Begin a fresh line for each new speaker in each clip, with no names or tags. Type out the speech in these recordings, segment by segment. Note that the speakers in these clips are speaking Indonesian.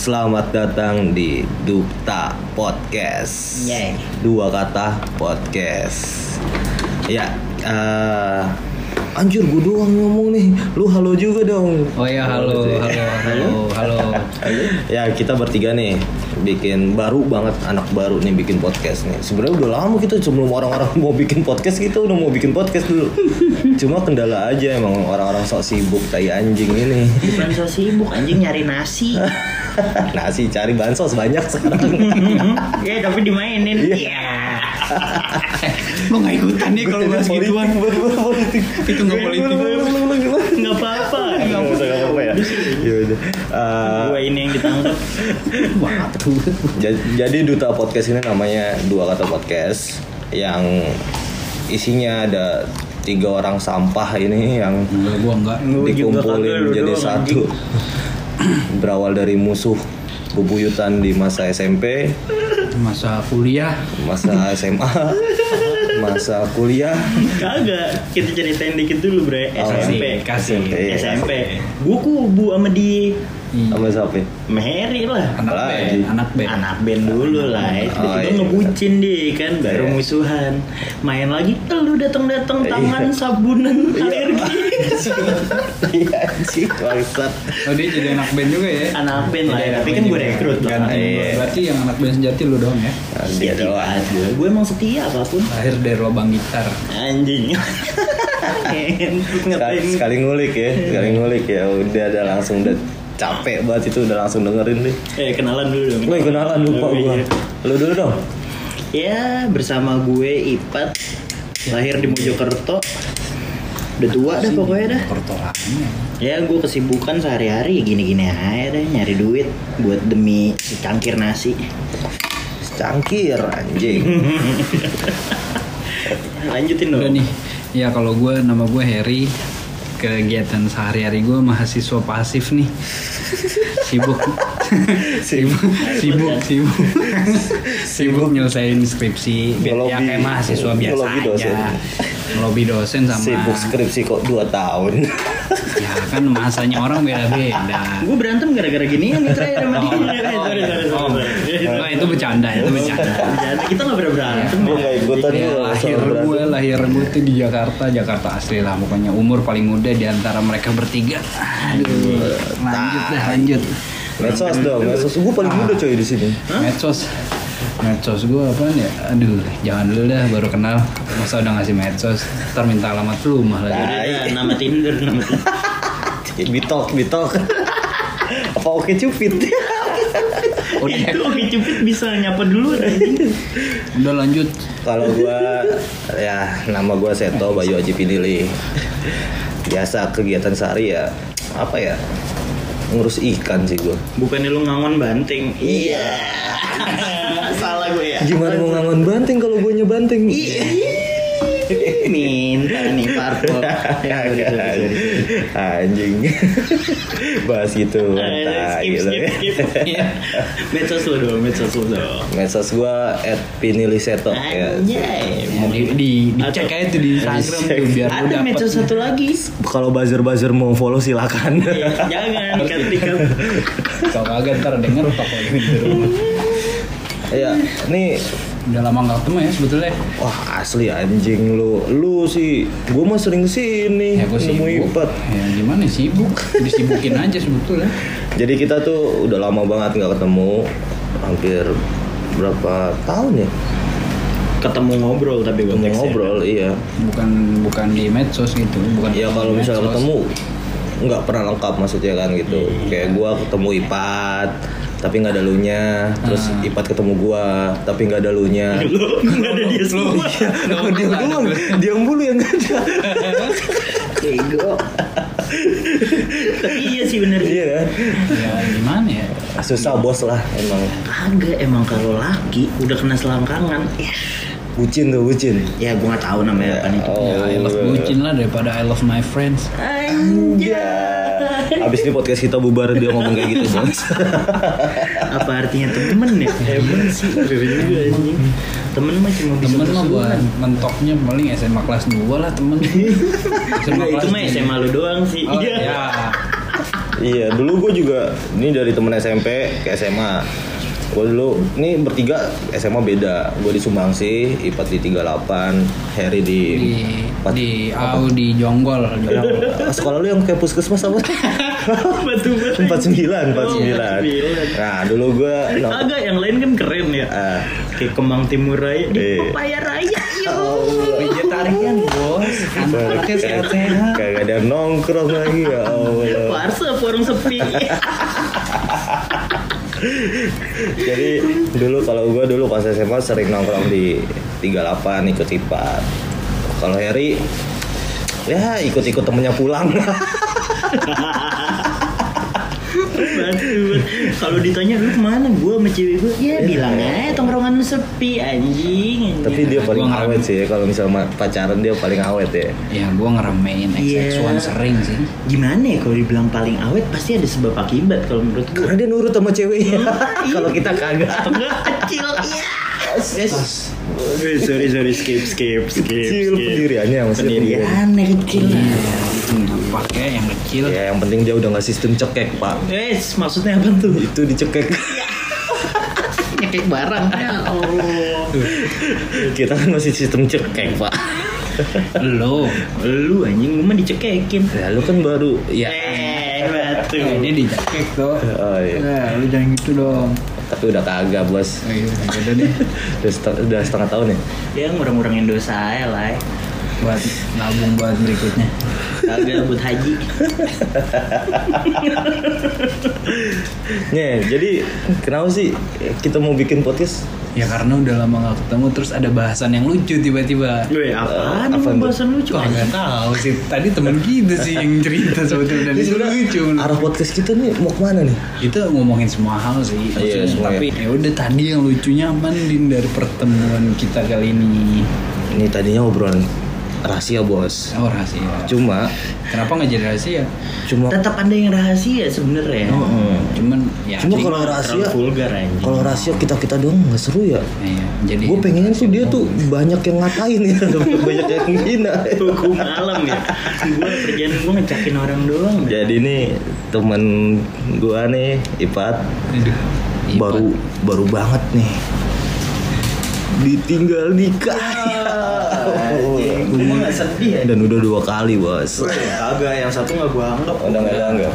Selamat datang di Dupta Podcast.
Yeay.
Dua kata podcast. Ya, eh, anjir gue doang ngomong nih. Lu halo juga dong.
Oh ya halo,
gitu ya.
halo, halo, halo.
ya kita bertiga nih bikin baru banget anak baru nih bikin podcast nih sebenarnya udah lama kita sebelum orang-orang mau bikin podcast kita udah mau bikin podcast dulu cuma kendala aja emang orang-orang sok sibuk tai anjing ini
Bukan so sibuk anjing nyari nasi.
nasi Nah, cari bansos banyak sekarang
ya tapi dimainin.
Iya.
Iya.
Lo nggak ikutan nih kalau bahas gituan.
politik
Itu nggak politik.
Enggak Ya, apa-apa.
Nggak apa-apa ya. Ya udah. Eh,
Gue ini yang ditangkap.
Ja- Jadi duta podcast ini namanya dua kata podcast yang isinya ada tiga orang sampah ini yang
Enggak, gua enggak.
Lu juga kagak,
dikumpulin
lu
jadi
doang,
satu. Berawal dari musuh bebuyutan di masa SMP,
Masa kuliah
masa SMA, masa kuliah,
Kagak. Kita ceritain dikit dulu bre.
Oh,
SMP.
kasih.
SMP. iya,
SMP. Gue kubu sama di
Iya.
sama siapa?
Meheri lah.
Anak
Lagi.
band, anak band.
Anak band dulu lah. ya.
Oh,
Tiba-tiba
iya.
ngebucin deh kan. Baru
Iya.
musuhan. Main lagi. eh, Lu datang-datang
Iya.
tangan sabunan alergi.
Iya anjing, bangsat.
Oh dia jadi anak band juga ya?
Anak band lah
Jadi
ya.
anak
Tapi
band
kan gue
juga.
rekrut lah.
Gantiin gua.
Iya.
Berarti yang anak band sejati lu doang ya?
Nah, Dia doang.
gue. Gue emang setia apapun.
Lahir dari lubang gitar.
anjing Ngentut
Sekali,
ngapain
sekali ngulik ya, sekali ngulik ya. Udah ada langsung udah capek banget itu udah langsung dengerin deh.
eh kenalan dulu dong
Gue kenalan lupa
Oh,
gua.
iya.
Lu dulu dong.
ya bersama gue Ipat lahir di Mojokerto udah tua dah pokoknya dah
Pertolongannya.
ya gue kesibukan sehari-hari ya gini-gini aja deh nyari duit buat demi secangkir nasi
Cangkir anjing.
lanjutin
Udah
dong
nih. Ya kalau gue nama gue Harry kegiatan sehari-hari gue mahasiswa pasif nih sibuk sibuk sibuk sibuk sibuk nyelesain skripsi
Ngelobi.
ya kayak mahasiswa biasa
Ngelobi dosen.
aja ngelobi dosen sama
Sibuk skripsi kok 2 tahun.
ya kan masanya orang beda-beda
gue berantem gara-gara gini nih terakhir sama dia Eh,
Oh,
sorry, sorry,
oh.
sorry.
Enggak, itu bercanda itu bercanda
Bercanda, kita nggak pernah berantem
Gue gak ikutan
Ya,
gua nggak
lahir
usah berani.
gue lahir gue tuh di Jakarta Jakarta asli lah pokoknya umur paling muda di antara mereka bertiga aduh lanjut dah lanjut
Medsos dong, medsos. Gue paling muda coy di sini.
medsos medsos gue apa ya aduh jangan dulu dah baru kenal masa udah ngasih medsos ntar minta alamat rumah lagi
Yaudah, dah, Iya, nama Tinder nama Tinder
Bitok, bitok. Apa oke cupit?
udah
Itu Oke Cupid bisa nyapa dulu anjing.
udah lanjut
Kalau gua ya nama gua Seto Bayu Haji Pinili. Biasa kegiatan sehari ya apa ya? Ngurus ikan sih gua.
Bukannya lu ngangon banting. Iya. Salah gue ya.
Gimana mau ngangon banting kalau guanya banting?
Ih, Minta nih parpol.
Iya,
Ya, sorry, sorry, sorry.
Anjing. Bahas gitu.
Eh,
Nah,
Skip,
gitu.
skip, skip. Iya. Medsos lu dong, medsos lu dong.
Medsos gua at piniliseto ya.
Anjay.
Ya, di, di, dicek aja tuh di Instagram tuh biar lu
Ada
dapet
medsos satu lagi.
Kalau buzzer-buzzer mau follow silakan.
Iya, Jangan ikat tikam.
kalau kagak ntar denger toko lagi di rumah
Iya, nih
udah lama nggak ketemu ya sebetulnya
wah asli anjing lu. Lu sih gua mah sering kesini
ya gue
nemu
sibuk
Ipat.
ya gimana sibuk disibukin aja sebetulnya
Jadi kita tuh udah lama banget nggak ketemu. Hampir berapa tahun ya?
Ketemu ngobrol tapi gue
Ketemu ngobrol, iya.
bukan bukan di medsos gitu bukan
Ya
di
kalau misalnya
medsos.
ketemu nggak pernah lengkap maksudnya kan gitu.
Iya,
Kayak gua ketemu Ipat tapi nggak ada lunya. Terus Ipat ketemu gua tapi nggak ada lunya.
Ah.
iya.
Lu nggak ada dia semua.
Nggak
Dia
pernah.
doang, dia mulu yang nggak ada.
Bego. Tapi iya sih bener.
Iya kan?
ya gimana ya
Ah, Susah bos lah emang.
Kagak emang kalau laki udah kena selangkangan. Ya,
Bucin tuh bucin.
ya gue nggak tahu namanya
kan
apa
Oh.
nih.
ya I love
iya.
bucin lah daripada I love my friends Iya.
Anjay.
Abis ini podcast kita bubar dia ngomong kayak gitu bos.
Apa artinya temen ya? Temen sih. bener juga, anjing. Temen mah cuma bisa
temen mah buat
bersuara.
mentoknya paling SMA kelas 2 lah temen
Nah, Itu mah SMA lu doang sih.
oh,
Iya.
ya
Iya, dulu gue juga ini dari temen SMP ke SMA. Gue dulu ini bertiga SMA beda. Gue di Sumbangsi, Ipat di 38, Harry di
di
Pat-
di au di jonggol jonggol
Eh, Sekolah lu yang kayak puskesmas apa?
Batu
Oh,
bata.
49, 49.
49.
Nah, dulu gue
Oh, Agak yang lain kan keren ya.
Ah.
Kayak Kemang Timur Raya,
Iya.
di Papaya Raya. yo.
vegetarian bos anaknya sehat-sehat
Kagak ada nongkrong lagi ya Allah.
Warsa warung sepi.
Jadi dulu kalau gue dulu pas SMA sering nongkrong di 38 ikut IPA. Kalau Harry ya ikut-ikut temennya pulang.
Batu. Kalau ditanya lu kemana? Gua sama cewek gua, ya bilang aja tongkrongan lu sepi anjing. anjing.
Iya. Tapi dia paling
Gua ngerti.
awet sih ya. kalau misalnya pacaran dia paling awet ya.
ya gue ngeremein
Iya.
XX1 sering sih
gimana ya kalau dibilang paling awet pasti ada sebab akibat kalau menurut gua.
Karena dia nurut sama ceweknya. kalau kita kagak.
Enggak kecil iya.
Yes.
Oke, sorry sorry skip skip skip.
Kecil
skip.
pendiriannya maksudnya iya. pendirian.
Pendiriannya kecil.
Ya, pakai yang kecil
Ya yang penting dia udah nggak sistem cekek pak.
Guys, Eh, maksudnya apa tuh?
Itu dicekek.
Nyekek barang. Ya Allah.
kita kan masih sistem cekek pak.
lo
Lu anjing gua mah dicekekin.
Ya lu kan baru ya.
Eh, batu.
eh, dia di jaket tuh
Oh, iya.
Nah, lu jangan gitu dong
Tapi udah kagak bos.
oh, iya udah deh
Udah, seteng- udah setengah tahun ya.
Dia ngurang-ngurangin dosa ya lah.
buat nabung buat berikutnya
Kagak buat haji.
Nih, jadi kenapa sih kita mau bikin podcast?
ya karena udah lama gak ketemu terus ada bahasan yang lucu tiba-tiba
Gue apaan?
Eh, Apaan
Apa
tuh?
bahasan lucu?
Wah gak tahu sih tadi temen kita sih yang cerita sebetulnya dan
Iya,
itu lucu
Arah podcast kita nih mau kemana nih?
itu ngomongin semua hal sih
Iya,
maksudnya.
semua
tapi ya udah tadi yang lucunya apa din dari pertemuan kita kali ini
Ini tadinya obrolan rahasia bos.
oh rahasia
Cuma,
kenapa nggak jadi rahasia
cuma,
Tetap ada yang rahasia sebenarnya.
Heeh.
cuman ya
Oh, cuma
jadi-
kalau
Terlalu
rahasia,
vulgar anjing.
kalau rahasia kita kita doang nggak seru ya.
Iya, jadi
Gue pengen tuh dia tuh banyak yang ngatain ya, banyak yang ngina.
hukum alam ya gue kerjaan gue ngecakin orang doang ya.
Jadi nih temen gua nih Ipat
Aduh, iya,
baru
Pak.
baru banget nih ditinggal nikah. Ya.
gue gak sedih ya
dan udah dua kali bos
kagak yang satu gak gue anggap
udah nggak dianggap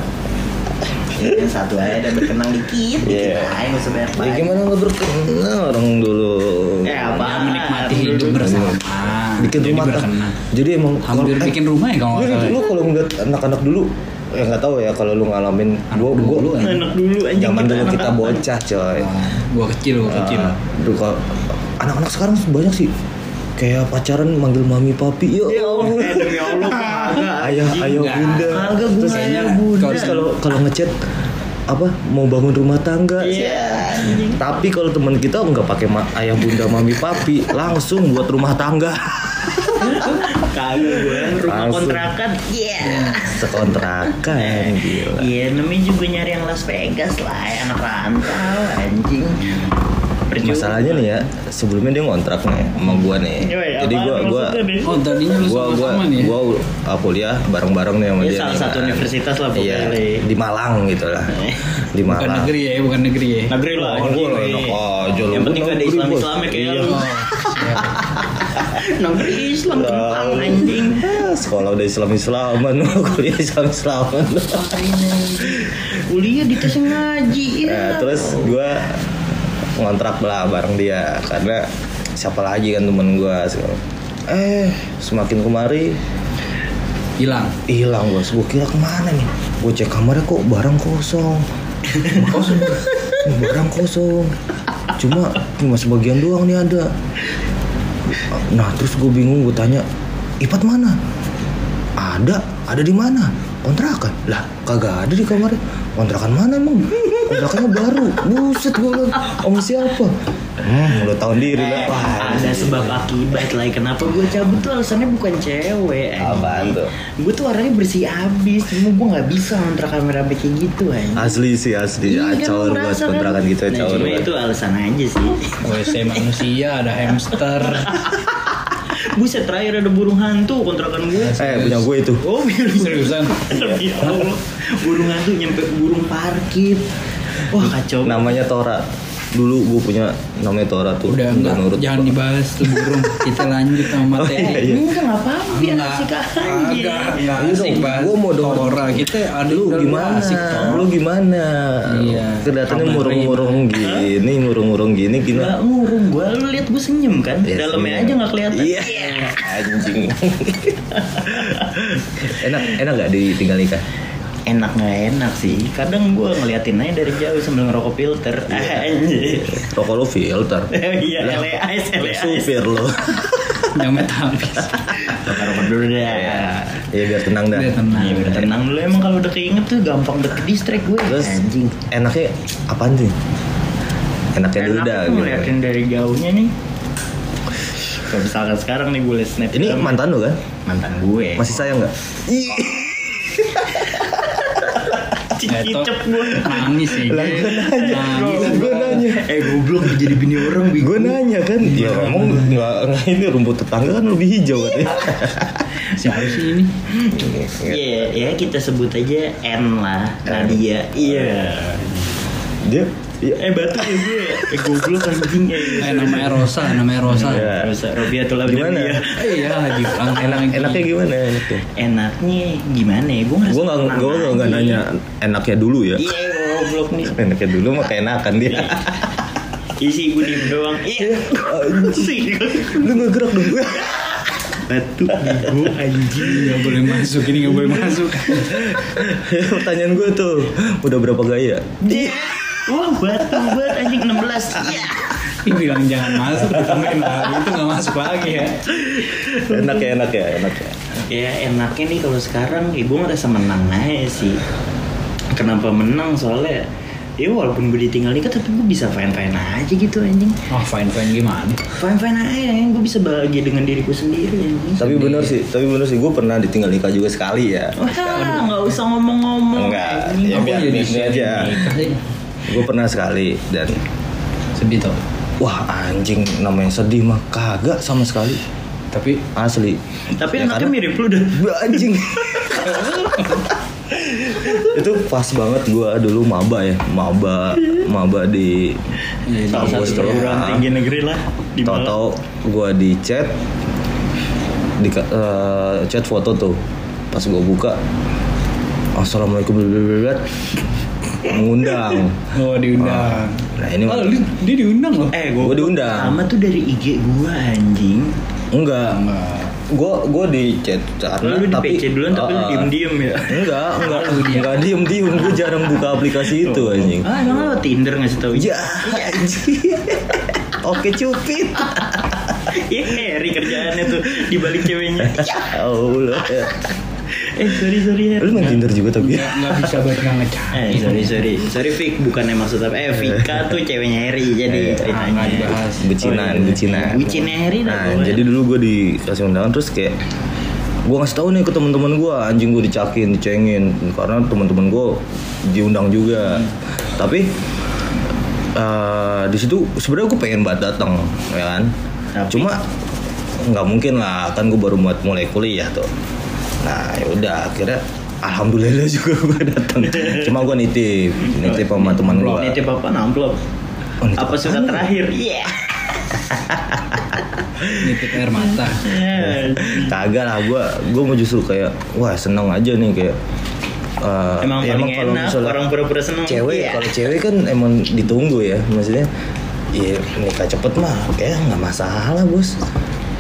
yang satu aja udah berkenang dikit dikit
Iya.
aja gak usah banyak
ya gimana nggak berkenan Nah, orang dulu
eh Iya. apa
Ya, menikmati hidup bersama
Iya. bikin
Jadi
rumah tangga
berkenan.
jadi emang
hampir
kalau-
bikin rumah ya kalau
Gue nih,
nggak salah
lu kalau ngeliat anak-anak dulu ya nggak tahu ya kalau lu ngalamin
Anak
gua
dulu,
gua
anak
enak dulu aja
zaman dulu kita bocah coy
Ah, gua kecil gua kecil
Ah, dulu kalau- anak-anak sekarang banyak sih kayak pacaran manggil mami papi ya Allah.
eh demi Allah kagak
ayah
anjing.
ayah
enggak.
bunda
Kagak,
terus
gua
kayaknya
ayah bunda.
terus kalau kalau ngechat apa mau bangun rumah tangga
Iya, anjing.
tapi kalau teman kita nggak pakai ma- ayah bunda mami papi langsung buat rumah tangga
kagak gue rumah
Langsung.
kontrakan iya
sekontrakan gila
Iya, namanya juga nyari yang Las Vegas lah, ya, anak rantau, anjing. Percuma.
masalahnya nih ya sebelumnya dia ngontrak nih sama gua nih
Yoi,
jadi
apaan
gua gua
maksudnya nih?
oh tadinya lu
gua gua
sama-sama nih ya?
gua uh, kuliah bareng-bareng nih sama
Iya,
dia
salah
nih,
satu
kan.
universitas lah, pokoknya, Iya.
iya,
Le.
di Malang gitu lah di
bukan
Malang
negeri ya bukan negeri ya
Negeri lah,
Oh,
anjing.
gua lah enak aja lu.
Yang penting
Gua
gak ada
negeri,
Islam ya.
bos.
Islamnya kayak
Iya.
lu.
Oh, Siap.
Negeri Islam kentang
Tahu.
anjing.
Ah, sekolah udah Islam Islaman kuliah Islam Islaman
Kuliah di tes ngaji ya.
Nah, terus gua ngontrak lah bareng dia karena siapa lagi kan temen gua eh semakin kemari
hilang
hilang bos gua kira kemana nih gua cek kamarnya kok barang kosong kosong barang kosong cuma cuma sebagian doang nih ada nah terus gue bingung gue tanya ipat mana ada ada di mana kontrakan lah kagak ada di kamarnya kontrakan mana emang kontrakannya baru buset gue bilang om siapa hmm lo tahun diri lah Wah,
Eh, Ada sebab akibat lah kenapa gue cabut tuh alasannya bukan cewek. anjing.
Apaan tuh?
Gue tuh orangnya bersih abis, cuma gue nggak bisa ngontrak kamera kayak gitu anjing.
asli sih asli
Iya, kan,
acawar
lu
buat
ngerasa kan?
kontrakan gitu
Nah,
acawar
cuma
banget.
Oh, ya,
itu alasan aja sih.
WC manusia ada hamster
Buset terakhir ada burung hantu kontrakan gue.
eh Iya. punya gue itu
Oh, biar
Seriusan?
Demi Allah. Burung hantu nyampe ke burung parkir. Wah, kacau.
namanya Tora dulu gue punya namanya Tora tuh
Udah
nggak
enggak, jangan dibahas tuh burung. Kita lanjut sama materi.
iya, iya.
Ini enggak apa-apa, biar asik anjing.
Enggak, enggak
Iya
asik
dong,
banget.
gua mau denger.
Tora kita ada
lu
udah
gimana
asik Tora.
lu gimana
Iya.
kelihatannya
Kabarin.
murung-murung gini murung-murung gini gini
Enggak ngurung gua, lu lihat gua senyum kan? Dalamnya aja nggak kelihatan.
Iya. Anjing. enak enak nggak ditinggal nikah?
Enak nggak enak sih. Kadang gua ngeliatin aja dari jauh sambil ngerokok filter. Anjir.
Rokok lu filter.
Iya,
Lah,
LAIS, LAIS.
Supir lo.
Nyamet habis.
Nah.
Rokok dulu deh.
ya biar tenang dah.
Udah tenang.
Iya, udah Iya, tenang dulu emang kalau udah keinget tuh gampang banget ke distract gue.
Terus
anjing.
enaknya apaan sih? Enaknya dulu
Enak
dah
tuh
gitu.
ngeliatin dari jauhnya nih. Kalau misalkan sekarang nih gue liat snap
Ini mantan lu kan?
mantan gue.
Masih sayang nggak? Ih,
Cicicep gue.
Eh, Nangis sih.
Lah, gua nanya.
Nangis.
Gua nanya.
Eh goblok jadi bini orang bi.
gue nanya kan. Ya ngomong nggak nggak ini rumput tetangga kan lebih hijau kan?
Siapa sih ini?
Iya, ya kita sebut aja N lah. Nadia. Iya.
Dia. Iya.
Eh batu ya gue. Eh goblok anjing.
Eh namanya Rosa, namanya Rosa.
Iya.
Robiatul
Gimana?
Abdullah.
Eh, Iya lagi bang.
Enak enaknya gimana? Enaknya?
Enaknya gimana ya? Gue ngerasa
Gue nggak
tenang
gue nggak nggak
aja.
nanya enaknya dulu ya.
Iya goblok nih.
Enaknya dulu mah keenakan dia.
Isi gue diem doang. Iya. Sih.
Lu nggak gerak dong gue.
Batu
gitu.
bego anjing.
Gak boleh masuk, ini gak boleh masuk.
Pertanyaan gue tuh udah berapa gaya?
Dia. Iya. Wah batu banget anjing 16. Iya.
Ini bilang jangan masuk, ditambahin lagi. Itu gak masuk lagi ya.
Enak ya enak ya enak ya.
Ya enaknya nih kalau sekarang ya gue ngerasa menang aja sih Kenapa menang soalnya Ya walaupun gue ditinggal nikah tapi gue bisa fine-fine aja gitu anjing
Oh fine-fine gimana?
Fine-fine aja anjing gue bisa bahagia dengan diriku sendiri anjing
Tapi bener sih, tapi bener sih gue pernah ditinggal nikah juga sekali ya.
Wah nggak usah ngomong-ngomong
Enggak,
anjing.
ya
Aku
biar
jadi
ini aja.
sedih.
Gue pernah sekali dan
Sedih tau.
wah anjing namanya sedih mah kagak sama sekali
Tapi
asli.
Tapi
Ya,
anaknya
karena-
mirip lu dah
Wah, anjing. itu pas banget gua dulu maba ya maba maba di
Iya,
Salah
Tahu
satu
gua
perguruan
sekarang.
tinggi negeri lah di Malang.
Tahu-tahu gue di chat di eh, chat foto tuh. Pas gue buka Assalamualaikum blablabla mengundang.
Oh diundang.
Nah, ini
Oh, dia, dia diundang loh.
Eh
Gua
gue
diundang.
Sama tuh dari IG gue anjing
enggak. Gue gue di chat karena
Lu di
tapi
PC duluan tapi lu
eh,
diem-diem ya
Enggak, enggak, enggak diem diem. Gue jarang buka aplikasi itu anjing.
Ah emang lo Tinder ngasih tau
Ya, anjing. Oke cupid.
Iya, Harry kerjaannya tuh di balik ceweknya.
Ya Allah.
Eh, sorry sorry Harry.
Lu main Tinder juga tapi.
Nggak, nggak bisa buat nggak
Eh,
ngecari.
sorry sorry. Sorry Fik, bukannya maksud apa? Eh, Vika tuh ceweknya Harry
Eh,
jadi
Ah, nggak
ceritanya.
dibahas.
Becinan,
Oh, iya.
becinan.
Bucinnya Harry dah,
Nah,
boleh.
jadi dulu gue dikasih undangan terus kayak gue ngasih tahu nih ke teman-teman gue anjing gue dicakin, dicengin karena teman-teman gue diundang juga.
Hmm.
Tapi eh, di situ sebenarnya gue pengen banget datang, ya kan?
Tapi-
Cuma nggak mungkin lah, kan gue baru buat mulai kuliah tuh. Nah, ya udah akhirnya alhamdulillah juga gue datang. Cuma gue nitip, nitip sama teman gue.
Amplop, nitip apa? Amplop.
Oh, nitip
apa
apaan
surat
lu?
terakhir? Iya.
Nitip air mata.
kagak lah gue gue mau justru kayak wah seneng aja nih kayak eh,
Emang
ya
paling
kalau
enak
misalnya
orang pura-pura seneng.
cewek
Iya.
kalau cewek kan emang ditunggu ya maksudnya Iya nikah cepet mah kayak nggak masalah bos.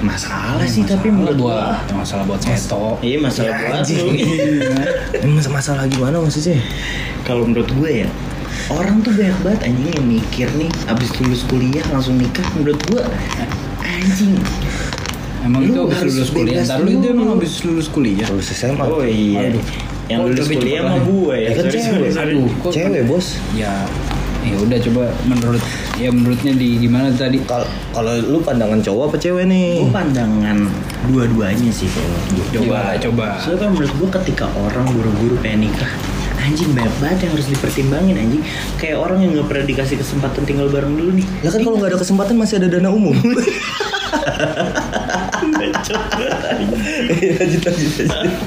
masalah sih tapi menurut gua.
buat masalah buat Iya. seto.
Iya, masalah
Ya,
buat
anjing.
lu.
Emang masalah gimana maksudnya?
Kalau menurut gue ya Orang tuh banyak banget anjing yang mikir nih Abis lulus kuliah langsung nikah Menurut gue Anjing
Emang
Lu
itu habis
harus
lulus kuliah.
bebas
Ntar lu itu
dulu.
emang habis lulus kuliah.
Lulus SMA.
Oh iya
Aduh.
Yang
Oh,
lulus
lebih
kuliah
cepat
mah
lagi.
gue ya
Ya kan
Sorry, sorry,
cewek.
sorry.
Aduh, kok-
Cewek bos.
Ya, ya udah coba menurut ya menurutnya di gimana tadi?
Kalau kalau lu pandangan cowok apa cewek nih?
Gue pandangan dua-duanya sih kalau gue.
Coba, coba.
Soalnya kan menurut gue ketika orang buru-buru pengen nikah Anjing banyak banget yang harus dipertimbangin anjing Kayak orang yang gak pernah dikasih
Ya
kesempatan tinggal bareng dulu nih
Lah kan kalau nggak ada kesempatan masih ada dana umum. Iya, lanjut lanjut lanjut.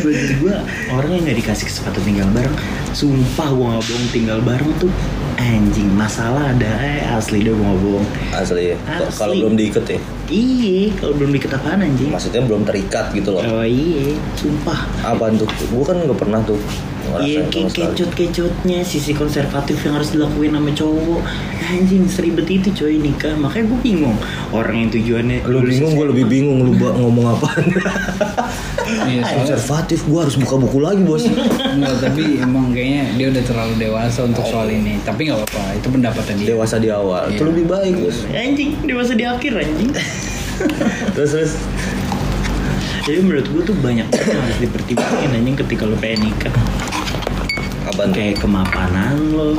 Bagi gue orang yang nggak dikasih kesempatan tinggal bareng, sumpah gue nggak bohong tinggal bareng tuh anjing masalah ada eh asli deh gue nggak bohong.
Asli ya. Kok- Kalau
Asli.
belum diikat ya.
Iya, kalau belum dikit apaan anjing?
Maksudnya belum terikat gitu loh.
Oh iya, sumpah.
Apaan tuh? Gue kan nggak pernah tuh. ngerasain
Iya,
sama
kayak
sekali.
kecut-kecutnya sisi konservatif yang harus dilakuin sama cowok. Anjing seribet itu coy nikah, makanya gue bingung. Orang yang tujuannya
Lu bingung, gue lebih bingung lu ba- ngomong apaan.
Iya, soalnya
Konservatif, gue harus buka buku lagi bos.
Enggak, tapi emang kayaknya dia udah terlalu dewasa untuk soal ini. Tapi nggak apa-apa, itu pendapatan dia.
Dewasa di awal, itu
Iya.
lebih baik bos.
Anjing, dewasa di akhir anjing.
Terus terus.
Jadi menurut gue tuh banyak banget yang harus dipertimbangin anjing ketika lo pengen nikah.
Apaan tuh?
Kayak kemapanan lo,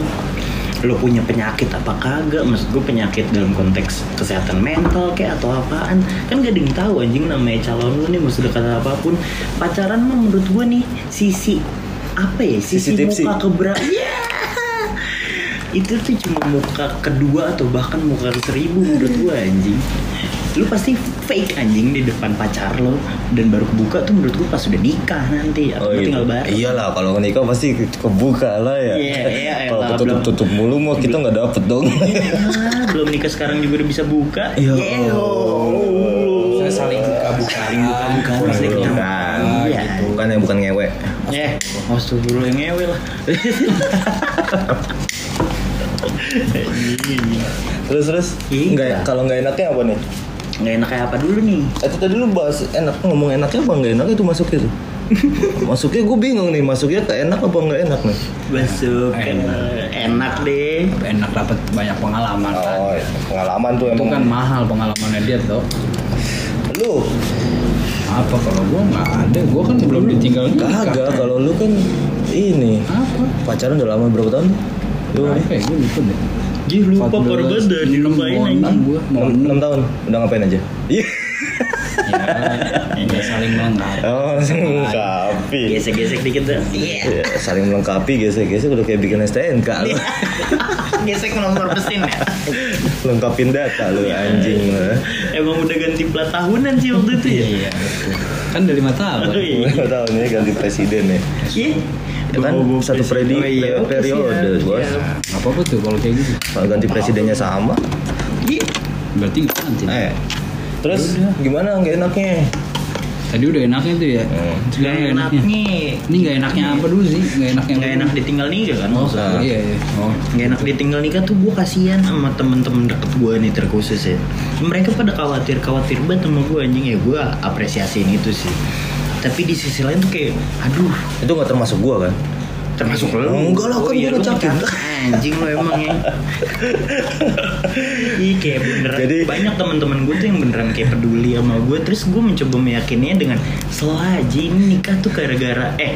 lo punya penyakit apa kagak? Maksud gue penyakit dalam konteks kesehatan mental kayak atau apaan? Kan gak ada yang tahu anjing namanya calon lo nih mau sudah kata apapun. Pacaran mah menurut gue nih sisi apa ya? Sisi,
Sisi tipsi.
muka keberapa? itu tuh cuma muka kedua atau bahkan muka ke seribu menurut gua anjing lu pasti fake anjing di depan pacar lo dan baru kebuka tuh menurut gua pas udah nikah nanti atau
gitu.
tinggal bareng
Iyalah kalau nikah pasti kebuka lah ya.
Iya, iya,
kalau
elah,
ketutup tutup mulu mah kita nggak dapet dong.
Ah, belum nikah sekarang juga udah bisa buka
Iya.
Yeho.
Saya saling buka-buka,
saling buka-buka saling
Bukan,
kenal. iya
bukan ya bukan ngewe.
eh maksud dulu yang Eh, ngewe lah
Terus terus,
Iya.
nggak ya? kalau nggak enaknya apa nih?
nggak enak kayak apa dulu nih
Eh, Itu tadi lu bahas enak ngomong enaknya apa nggak enak itu masuknya tuh. masuknya gue bingung nih masuknya ke enak apa nggak enak nih?
besok kan.
Enak.
enak deh
Enak dapat banyak pengalaman. kan.
Oh pengalaman tuh
Itu
emang.
kan mahal pengalamannya dia tuh.
Lu
Apa kalau gua nggak ada, gua kan belum ditinggal nikah.
kagak kalau lu kan ini
Apa?
pacaran udah lama berapa tahun? Lu
Lu apa ya? Gua lupa deh.
Gih lupa korban dan
Enam,
dilupain
mau enam
anjing
gua, mau
enam
enam.
enam tahun udah ngapain aja? Iya.
Ya, ya, saling melengkapi.
Oh, saling melengkapi.
Gesek-gesek dikit dah. Iya.
Iya, saling melengkapi gesek-gesek udah kayak bikin STNK lu.
Gesek nomor mesin ya.
Lengkapin data lu anjing lu. eh.
Emang udah ganti plat tahunan sih waktu itu ya.
Iya, betul. kan dari mata apa?
Aduh, iya.
Lima tahun ini ganti presiden ya.
Iya.
Ya kan
Bobo-bobo
satu Freddy
presiden. Oh, iya.
per-
Oke,
periode,
siap,
bos.
siap.
Nggak apa-apa tuh kalau kayak gitu.
Kalau ganti presidennya sama.
Iya.
Berarti nggak anjing.
Eh. Terus gimana nggak enaknya?
Tadi udah enaknya tuh
Oh.
ya.
Gak
Sekarang nggak
enak
enaknya.
nih.
Ini nggak enaknya apa dulu sih? Nggak enaknya.
Gak enak ditinggal nikah kan
Oh,
maksudnya.
iya iya. Oh.
Gak enak ditinggal nikah tuh gue kasihan sama temen-temen deket gue nih terkhusus ya Mereka pada khawatir-khawatir banget sama gue anjing ya gue apresiasiin itu sih Tapi di sisi lain tuh kayak aduh
Itu nggak termasuk gua kan?
termasuk lo
Enggak lah, kan gua
iya, lu
capek.
bercanda. anjing lo emang ya Ih kayak beneran
Jadi-
banyak teman-teman gue tuh yang beneran kayak peduli sama gue terus gue mencoba meyakininya dengan selaji ini nikah tuh gara-gara eh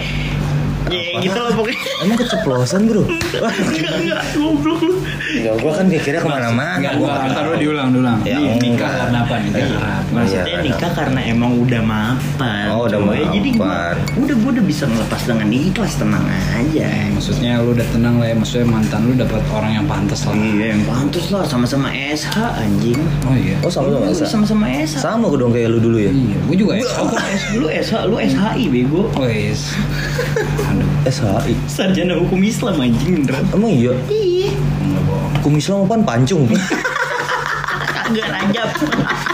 ya
Apaan?
gitu lah pokoknya
Emang keceplosan bro? Wah,
enggak enggak goblok lu
ya gua kan mikirnya kemana-mana.
Enggak,
Gua kan-
enggak,
nggak
entar
tahu.
dulu diulang, diulang.
Ya,
Nih,
enggak.
nikah karena apa? Nikah
Iya.
karena apa?
Mas-
Maksudnya
Iya,
nikah karena emang udah mapan.
Oh, udah
coy. Jadi gua
mapan.
udah gua udah bisa melepas dengan ikhlas tenang aja.
Maksudnya lu udah tenang lah ya, maksudnya mantan lu dapat orang yang pantas lah.
Iya, yang pantas lah sama-sama SH anjing.
Oh iya.
Oh sama-sama
Lu
Esa.
Sama-sama SH.
Sama gua dong kayak lu dulu ya.
Iya, gua juga ya.
Aku S, lu SH, lu SHI bego.
Oh yes. Aduh,
SHI.
Sarjana hukum Islam anjing beneran.
Eh, Emang iya?
Ih,
enggak bohong.
Kumis lo apaan pancung?
kagak rajab.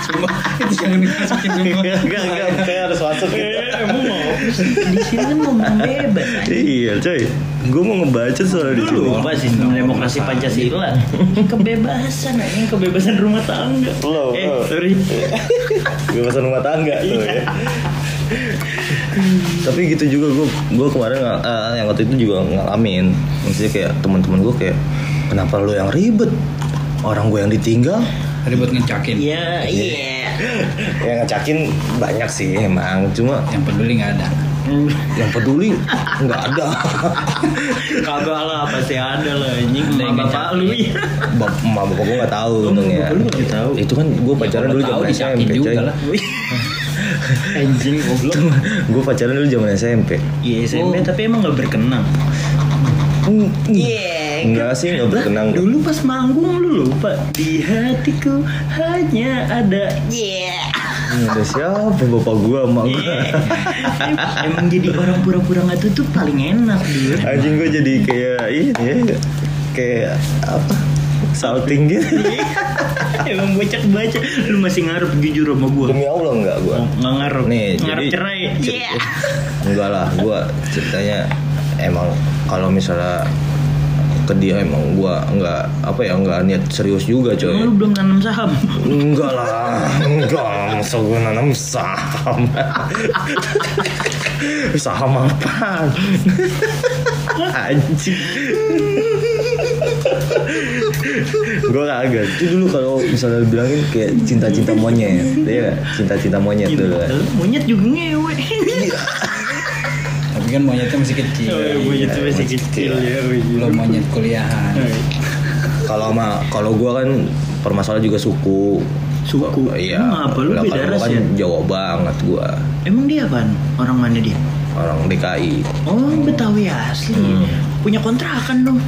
Coba itu jangan dimasukin semua.
Enggak, enggak, enggak.
kayak harus masuk
Emang Eh, mau? Di sini kan ngomong bebas anjing.
Iya coy, gue mau ngebaca soal
Lu
di sini.
lupa sih sama demokrasi Pancasila. Kebebasan anjing, kebebasan rumah tangga.
Lo,
eh,
lo.
sorry.
Gue pesan rumah tangga tuh
Iya.
ya. Tapi gitu juga gue gue kemarin ngal- eh, yang waktu itu juga ngalamin. Maksudnya kayak teman-teman gue kayak kenapa lu yang ribet? Orang gue yang ditinggal,
Tadi buat ngecakin.
Iya, iya.
yang ngecakin Ya, banyak sih emang. Cuma
Yang peduli nggak ada.
yang peduli nggak ada.
Kagak lah, pasti ada lah anjing.
Ada yang
Sama bapak
ngecakin.
lu ya.
Bap, emak bapak gue nggak tahu
Oh,
untungnya.
bapak lu nggak tahu. Ya,
Itu kan gue pacaran
Kalau
dulu
tahu
zaman
dicakin
SMP coy.
juga lah.
Anjing goblok.
Gue pacaran dulu zaman SMP.
Iya, SMP
Oh.
tapi emang gak berkenan. Iya.
Enggak sih, enggak berkenan.
Dulu pas manggung lu lupa di hatiku hanya ada yeah.
Ada siapa bapak gua emak gua
Iya. Emang jadi orang pura-pura nggak tutup paling enak dulu.
Anjing gua jadi kayak ini ya Kayak apa Salting gitu
Emang bocak baca Lu masih ngarep jujur sama gua
Demi Allah enggak gua
Nggak ngarep
Nih
Ngarep
jadi
cerai
cer-
Iya
Enggak lah gua ceritanya Emang kalau misalnya ke dia emang gua nggak apa ya nggak niat serius juga coy
Emang Lu belum nanam saham
Enggak lah, enggak. Masa gue nanam saham. saham apa? Anjing. gue kagak. Itu dulu kalau misalnya dibilangin kayak cinta-cinta monyet. Iya, nggak? cinta-cinta monyet
Gitu.
dulu. kan.
Monyet juga ngewe Iya
Tapi kan monyetnya masih kecil.
Oh,
Iya,
Monyet masih kecil ya
Belum monyet
Iya,
kuliahan.
Kalau sama kalau gue kan permasalahan juga suku.
Suku?
Iya.
Emang apa? Lu
Lah,
beda
kalau
ras
gua
ya?
kan Jawa banget gue.
Emang dia apaan? Orang mana dia?
Orang DKI.
Oh Betawi asli
Hmm.
Punya kontrakan dong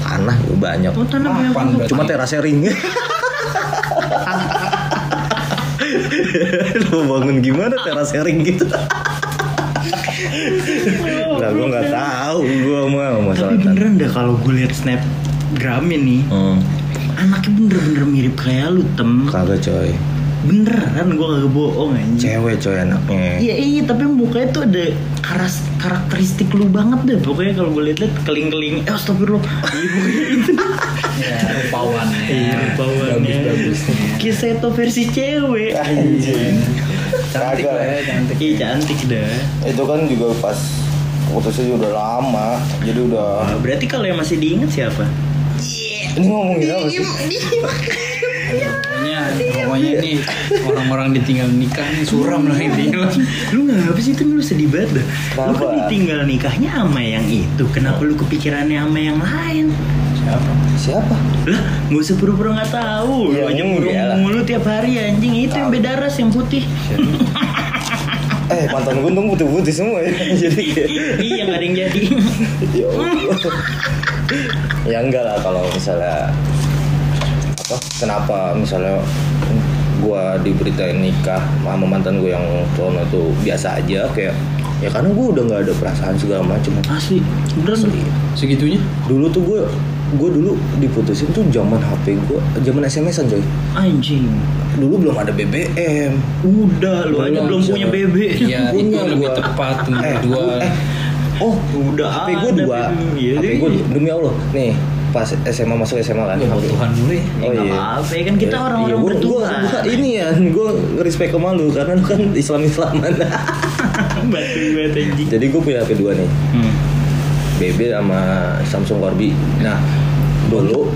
Tanah gua banyak.
Oh tanah
Mapan
banyak banget.
berarti.
Cuma terasnya ring. Lu bangun gimana terasnya ring gitu? lah gue nggak tahu gue mau masalah
Tapi
tanah.
beneran dah kalau gue liat snapgramnya nih
Hmm,
Anaknya bener-bener mirip kayak lu tem
kagak coy.
Beneran gue kagak bohong anjing
Cewek coy anaknya.
Iya iya tapi mukanya tuh ada karas, karakteristik lu banget deh Pokoknya kalau gue liat-liat keling-keling Eh astagfirullah Iya pokoknya itu
Ya, rupawannya.
Iya bawaannya
Bagus-bagusnya.
Kiseto versi cewek
Anjing.
Cantik lah ya, cantik.
Iya cantik dah
Itu kan juga pas putusnya udah lama, jadi udah.
Wah, Berarti kalau yang masih diingat siapa?
Ini ngomongin apa
Iya,
sih?
Pokoknya, pokoknya ini orang-orang ditinggal nikah nih suram lah
Iya.
intinya lah.
Lu ngapa sih itu lu sedih banget dah Lu kan
Kenapa?
ditinggal nikahnya sama yang itu Kenapa lu kepikirannya sama yang lain?
Siapa?
iya.
Siapa?
Lah, gak usah pura-pura gak tahu. Lu
Ya,
aja
enggak lah.
ngurung mulu tiap hari anjing. Itu yang beda ras yang putih.
Eh mantan gue untung putih-putih semua ya. Jadi kayak
iya, gak ada yang jadi.
ya Allah. ya enggak lah kalau misalnya apa kenapa misalnya gua diberitain nikah sama mantan gue yang sono tuh biasa aja kayak ya karena gue udah nggak ada perasaan segala macem
Asli, beneran
Asli.
Segitunya?
dulu tuh gue gue dulu diputusin tuh zaman HP gue zaman SMS-an coy
Anjing.
dulu belum ada BBM
Udah, lu
Belum,
aja belum punya
siapa?
bebek.
Iya, itu
Punya
lebih
gua.
tepat nomor
Eh,
dua.
eh, oh
Udah
HP gue
ada
dua
BBM, iya, Iya,
HP gue demi Allah nih pas SMA masuk SMA kan
Ya, buat
HP.
Tuhan dulu ya.
Ya,
Oh,
nggak apa-apa, ya kan kita orang-orang
iya. gua- gua-
bertuhan.
gua ini ya, gue respect sama lu karena lu kan Islam Islaman.
Batu banget anjing.
Jadi gue punya HP 2 nih,
Hmm.
BB sama Samsung Corby. Nah, dulu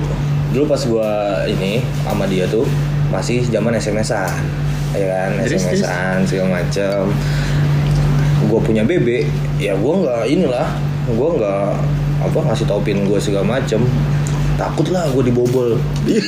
dulu pas gue ini sama dia tuh masih zaman SMS-an. Ya kan,
Terus, terus?
SMS-an segala macem Gue punya BB, ya gue nggak inilah, gue nggak apa ngasih tau pin gue segala macem takut lah gue dibobol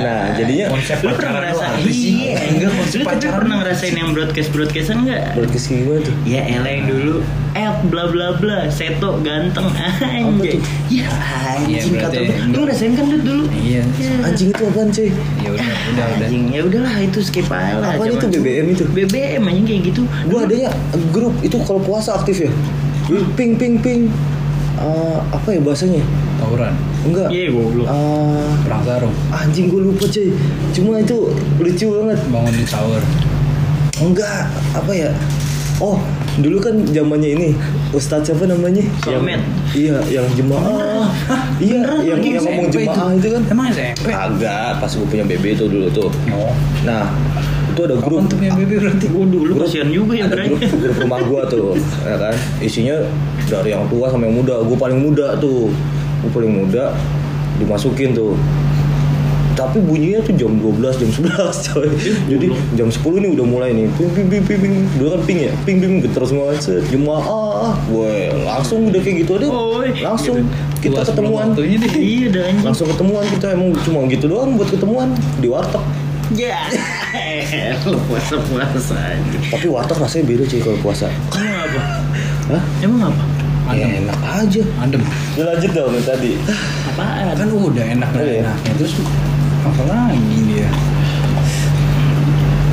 nah jadinya
Konsep
Lu
pacaran
pernah
lu
ngerasa
apa sih?
iya.
Enggak, konsep
Lu tapi
pacaran
pernah ngerasain yang broadcast-broadcastan enggak?
Broadcast kayak gimana tuh?
Ya elah yang dulu F bla bla bla Seto ganteng anjing
tuh?
Ya anjing
Iya,
kata
berarti-
lu Lu ngerasain kan Dut, dulu
Iya.
Ya.
Anjing itu apaan cuy?
Ya udah, udah, udah.
Anjing ya udahlah itu skip aja lah
Apaan
zaman
itu
dulu.
BBM itu?
BBM anjing kayak gitu
Gua adanya ya, grup itu kalau puasa aktif ya.
Hmm.
Ping ping ping. Eh, apa ya bahasanya?
Tauran,
Enggak.
Iya goblok
Eh,
perang sarung,
anjing gue lupa cuy. Cuma itu lucu banget.
bangun di tower.
Enggak, apa ya? Oh, dulu kan zamannya ini Ustadz siapa namanya?
Somet.
Iya, yang jemaah. iya, yang, yang ngomong
SMP
jemaah itu, kan?
Emang SMP?
Agak, pas gue punya BB itu dulu tuh.
Oh.
Nah, itu ada grup.
Kapan tuh punya BB berarti?
Waduh lu
Grup-
kasihan juga ya
ada
Bray
grup, grup rumah gua tuh ya kan isinya dari yang tua sampai yang muda gua paling muda tuh gua paling muda dimasukin tuh tapi bunyinya tuh jam 12 jam 11 coy
Iya,
jadi jam 10 nih udah mulai nih ping ping ping ping ping dulu kan ping ya ping ping getar semua set jemaah gue langsung udah kayak gitu deh
Oi,
langsung
gitu.
kita
Tua sebelum
ketemuan
waktunya deh.
Iya dah anjing
langsung ketemuan kita emang cuma gitu doang buat ketemuan di warteg
Ya Lu puasa-puasa anjing
tapi warteg rasanya beda cuy kalau puasa
Emang apa?
Hah?
Emang apa?
Ya,
Adem.
enak aja
Adem.
Ya lanjut dong yang tadi.
Apaan?
Kan udah enak
Oh,
udah
iya.
enaknya. Terus apa lagi dia?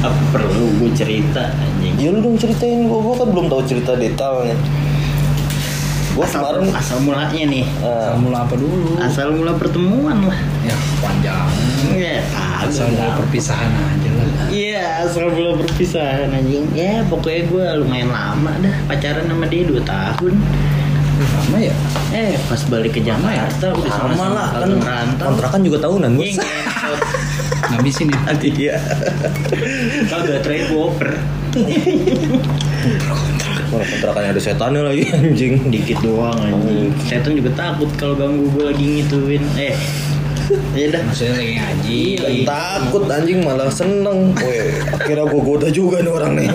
apa perlu gue cerita anjing
Ya lu dong ceritain gua, gua kan belum tahu cerita detailnya. Gua
asal,
kemarin
asal mulanya nih
eh,
Asal mula apa dulu?
asal mula pertemuan lah
Ya panjang.
ya kagak
Asal mula
lah.
perpisahan aja lah.
Iya, asal belum perpisahan anjing. Ya, pokoknya gue lumayan lama dah pacaran sama dia 2 tahun.
Sama ya?
Eh, pas balik ke Jakarta udah
sama
sama-sama
lah kan
tahun rantau.
kontrakan juga tahunan Iya. bos.
Iya, ngentot.
Ngabisin ya?
Nanti dia
Kagak trade over.
Mana kontrakan ada setannya lagi anjing.
Dikit doang anjing. Setan Hmm, juga takut kalau ganggu gue lagi ngituin. Eh. Ya dah.
Maksudnya lagi ngaji.
Iya.
Takut anjing malah seneng. Woi, akhirnya gua goda juga nih orang nih.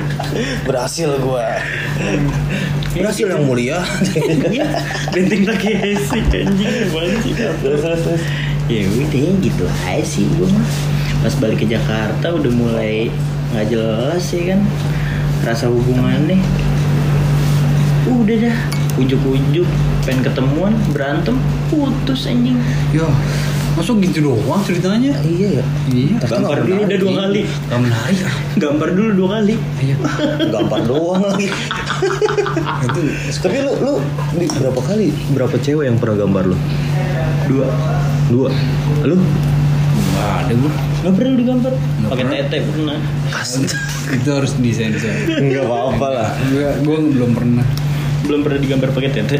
Berhasil gua. Berhasil yang mulia.
Iya, Benteng pakai hesi anjing banci. Ya udah gitu aja sih gue mah. Pas balik ke Jakarta udah mulai nggak jelas ya kan. Rasa hubungannya. Udah dah, ujuk-ujuk pengen ketemuan berantem putus anjing.
Yo, masuk gitu doang ceritanya?
Iya ya.
Iya.
Gambar
dulu udah dua kali.
Gak menarik ah.
Gambar dulu dua kali.
Iya.
Gampar doang lagi.
Ah, Itu
Tapi lu lu di- berapa kali berapa cewek yang pernah gambar lu?
Dua.
Dua. Lu
nggak ada gua.
Nggak pernah digambar.
Nggak
Pakai
pernah.
tete pernah.
Itu harus disensor.
Enggak apa-apa lah.
Gua, gua belum pernah
Belum pernah digambar pakai tete.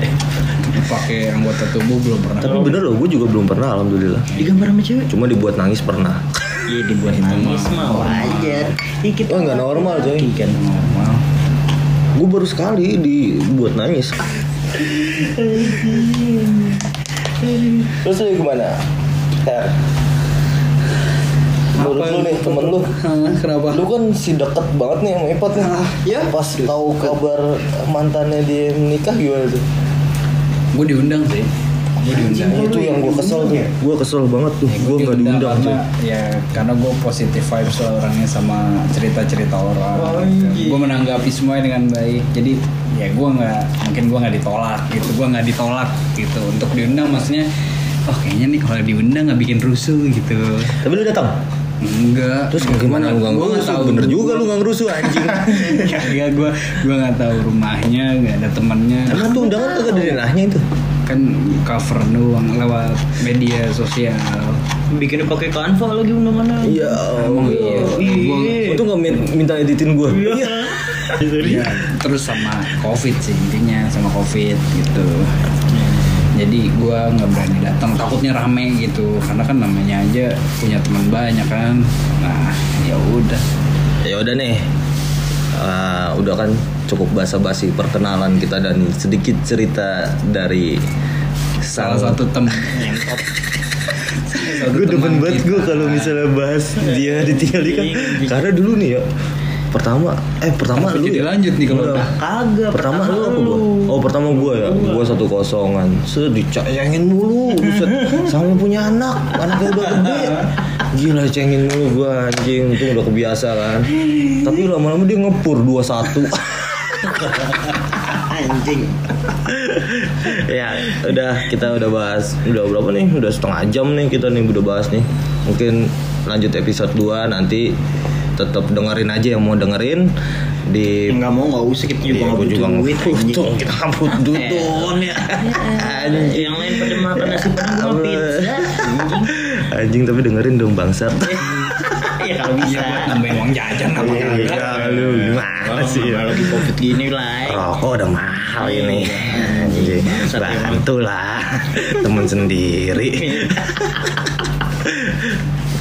pakai anggota tubuh belum pernah.
Tapi bener loh, gue juga belum pernah alhamdulillah.
Digambar sama cewek.
Cuma dibuat nangis pernah.
Iya dibuat
Gitu
nangis mah wajar. Ya, kita
Oh, nggak normal, coy.
laki kan.
Normal.
Gue baru sekali dibuat nangis. Terus lu gimana? Ter. Menurut
Apa
lu nih
yang-
temen lu
Hah, kenapa?
Lu kan si deket banget nih sama Ipot nih
Ah, iya.
Pas tahu kabar mantannya dia menikah gimana tuh?
Gue diundang sih. Gue diundang.
Nah, itu
iya,
yang gue kesel tuh Gue kesel banget tuh Gue gak diundang
karena,
tuh
ya karena gue positive vibes lah orangnya sama cerita-cerita orang
Oh, iya.
Anjing.
gue menanggapi semuanya dengan baik jadi ya gue nggak mungkin gue nggak ditolak gitu gue nggak ditolak gitu untuk diundang maksudnya oh kayaknya nih kalau diundang nggak bikin rusuh gitu
Tapi lu datang?
enggak
Terus gimana lu gak
Iya, Gua nggak
ngerusuh?
tahu.
Bener juga lu gak ngerusuh anjing
ya gue gue nggak tahu rumahnya nggak ada temannya
Emang tuh undangan kagak dari nahnya itu?
kan cover doang lewat media sosial
Bikinnya pakai kanva lagi mana-mana.
Iya
Emang iya.
Iya.
Untung gak minta editin gue
Iya.
Iya, terus sama covid sih intinya sama covid gitu jadi gua nggak berani datang takutnya rame gitu karena kan namanya aja punya teman banyak kan nah ya udah
ya udah nih Eh, udah kan cukup basa-basi perkenalan kita dan sedikit cerita dari
salah satu teman yang top Salah satu
gue
teman
demen banget
kita.
gue kalau misalnya bahas dia ditinggal nikah Iya. karena dulu nih ya pertama eh pertama
Kenapa
lu
kan. jadi
ya?
lanjut nih kalau
Enggak.
udah?
Kagak.
pertama, lu apa gua? oh pertama gue ya gue satu kosongan sedicayangin mulu buset. sama punya anak anaknya udah gede gila cengin mulu gue anjing untung udah kebiasa kan tapi lama-lama dia ngepur 21
Anjing.
ya udah kita udah bahas udah berapa nih udah setengah jam nih kita nih udah bahas nih mungkin lanjut episode 2 nanti tetap dengerin aja yang mau dengerin di
Enggak mau enggak usah kita juga
Iya,
enggak
gua
butuh duit. anjing.
untung kita kabut dutun ya
Anjing. Yang lain pada makan nasi padang sama pizza.
anjing tapi dengerin dong bangsat
Ya kalau bisa.
Iya, buat nambahin uang jajan apa kagak
Iya, lu gimana sih ya?
Kalau lagi covid gini lah.
Rokok udah mahal ini
Anjing, bangsat emang.
Bantu lah Temen sendiri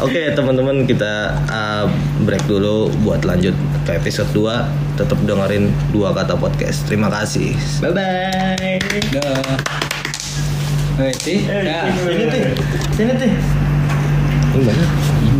Oke teman-teman kita uh, break dulu buat lanjut ke episode 2 Tetap dengerin dua kata podcast Terima kasih
Bye bye.
dah
Eh,
Oke, sih. Ya.
Sini teh. Sini teh.
Ini mana?
Iya,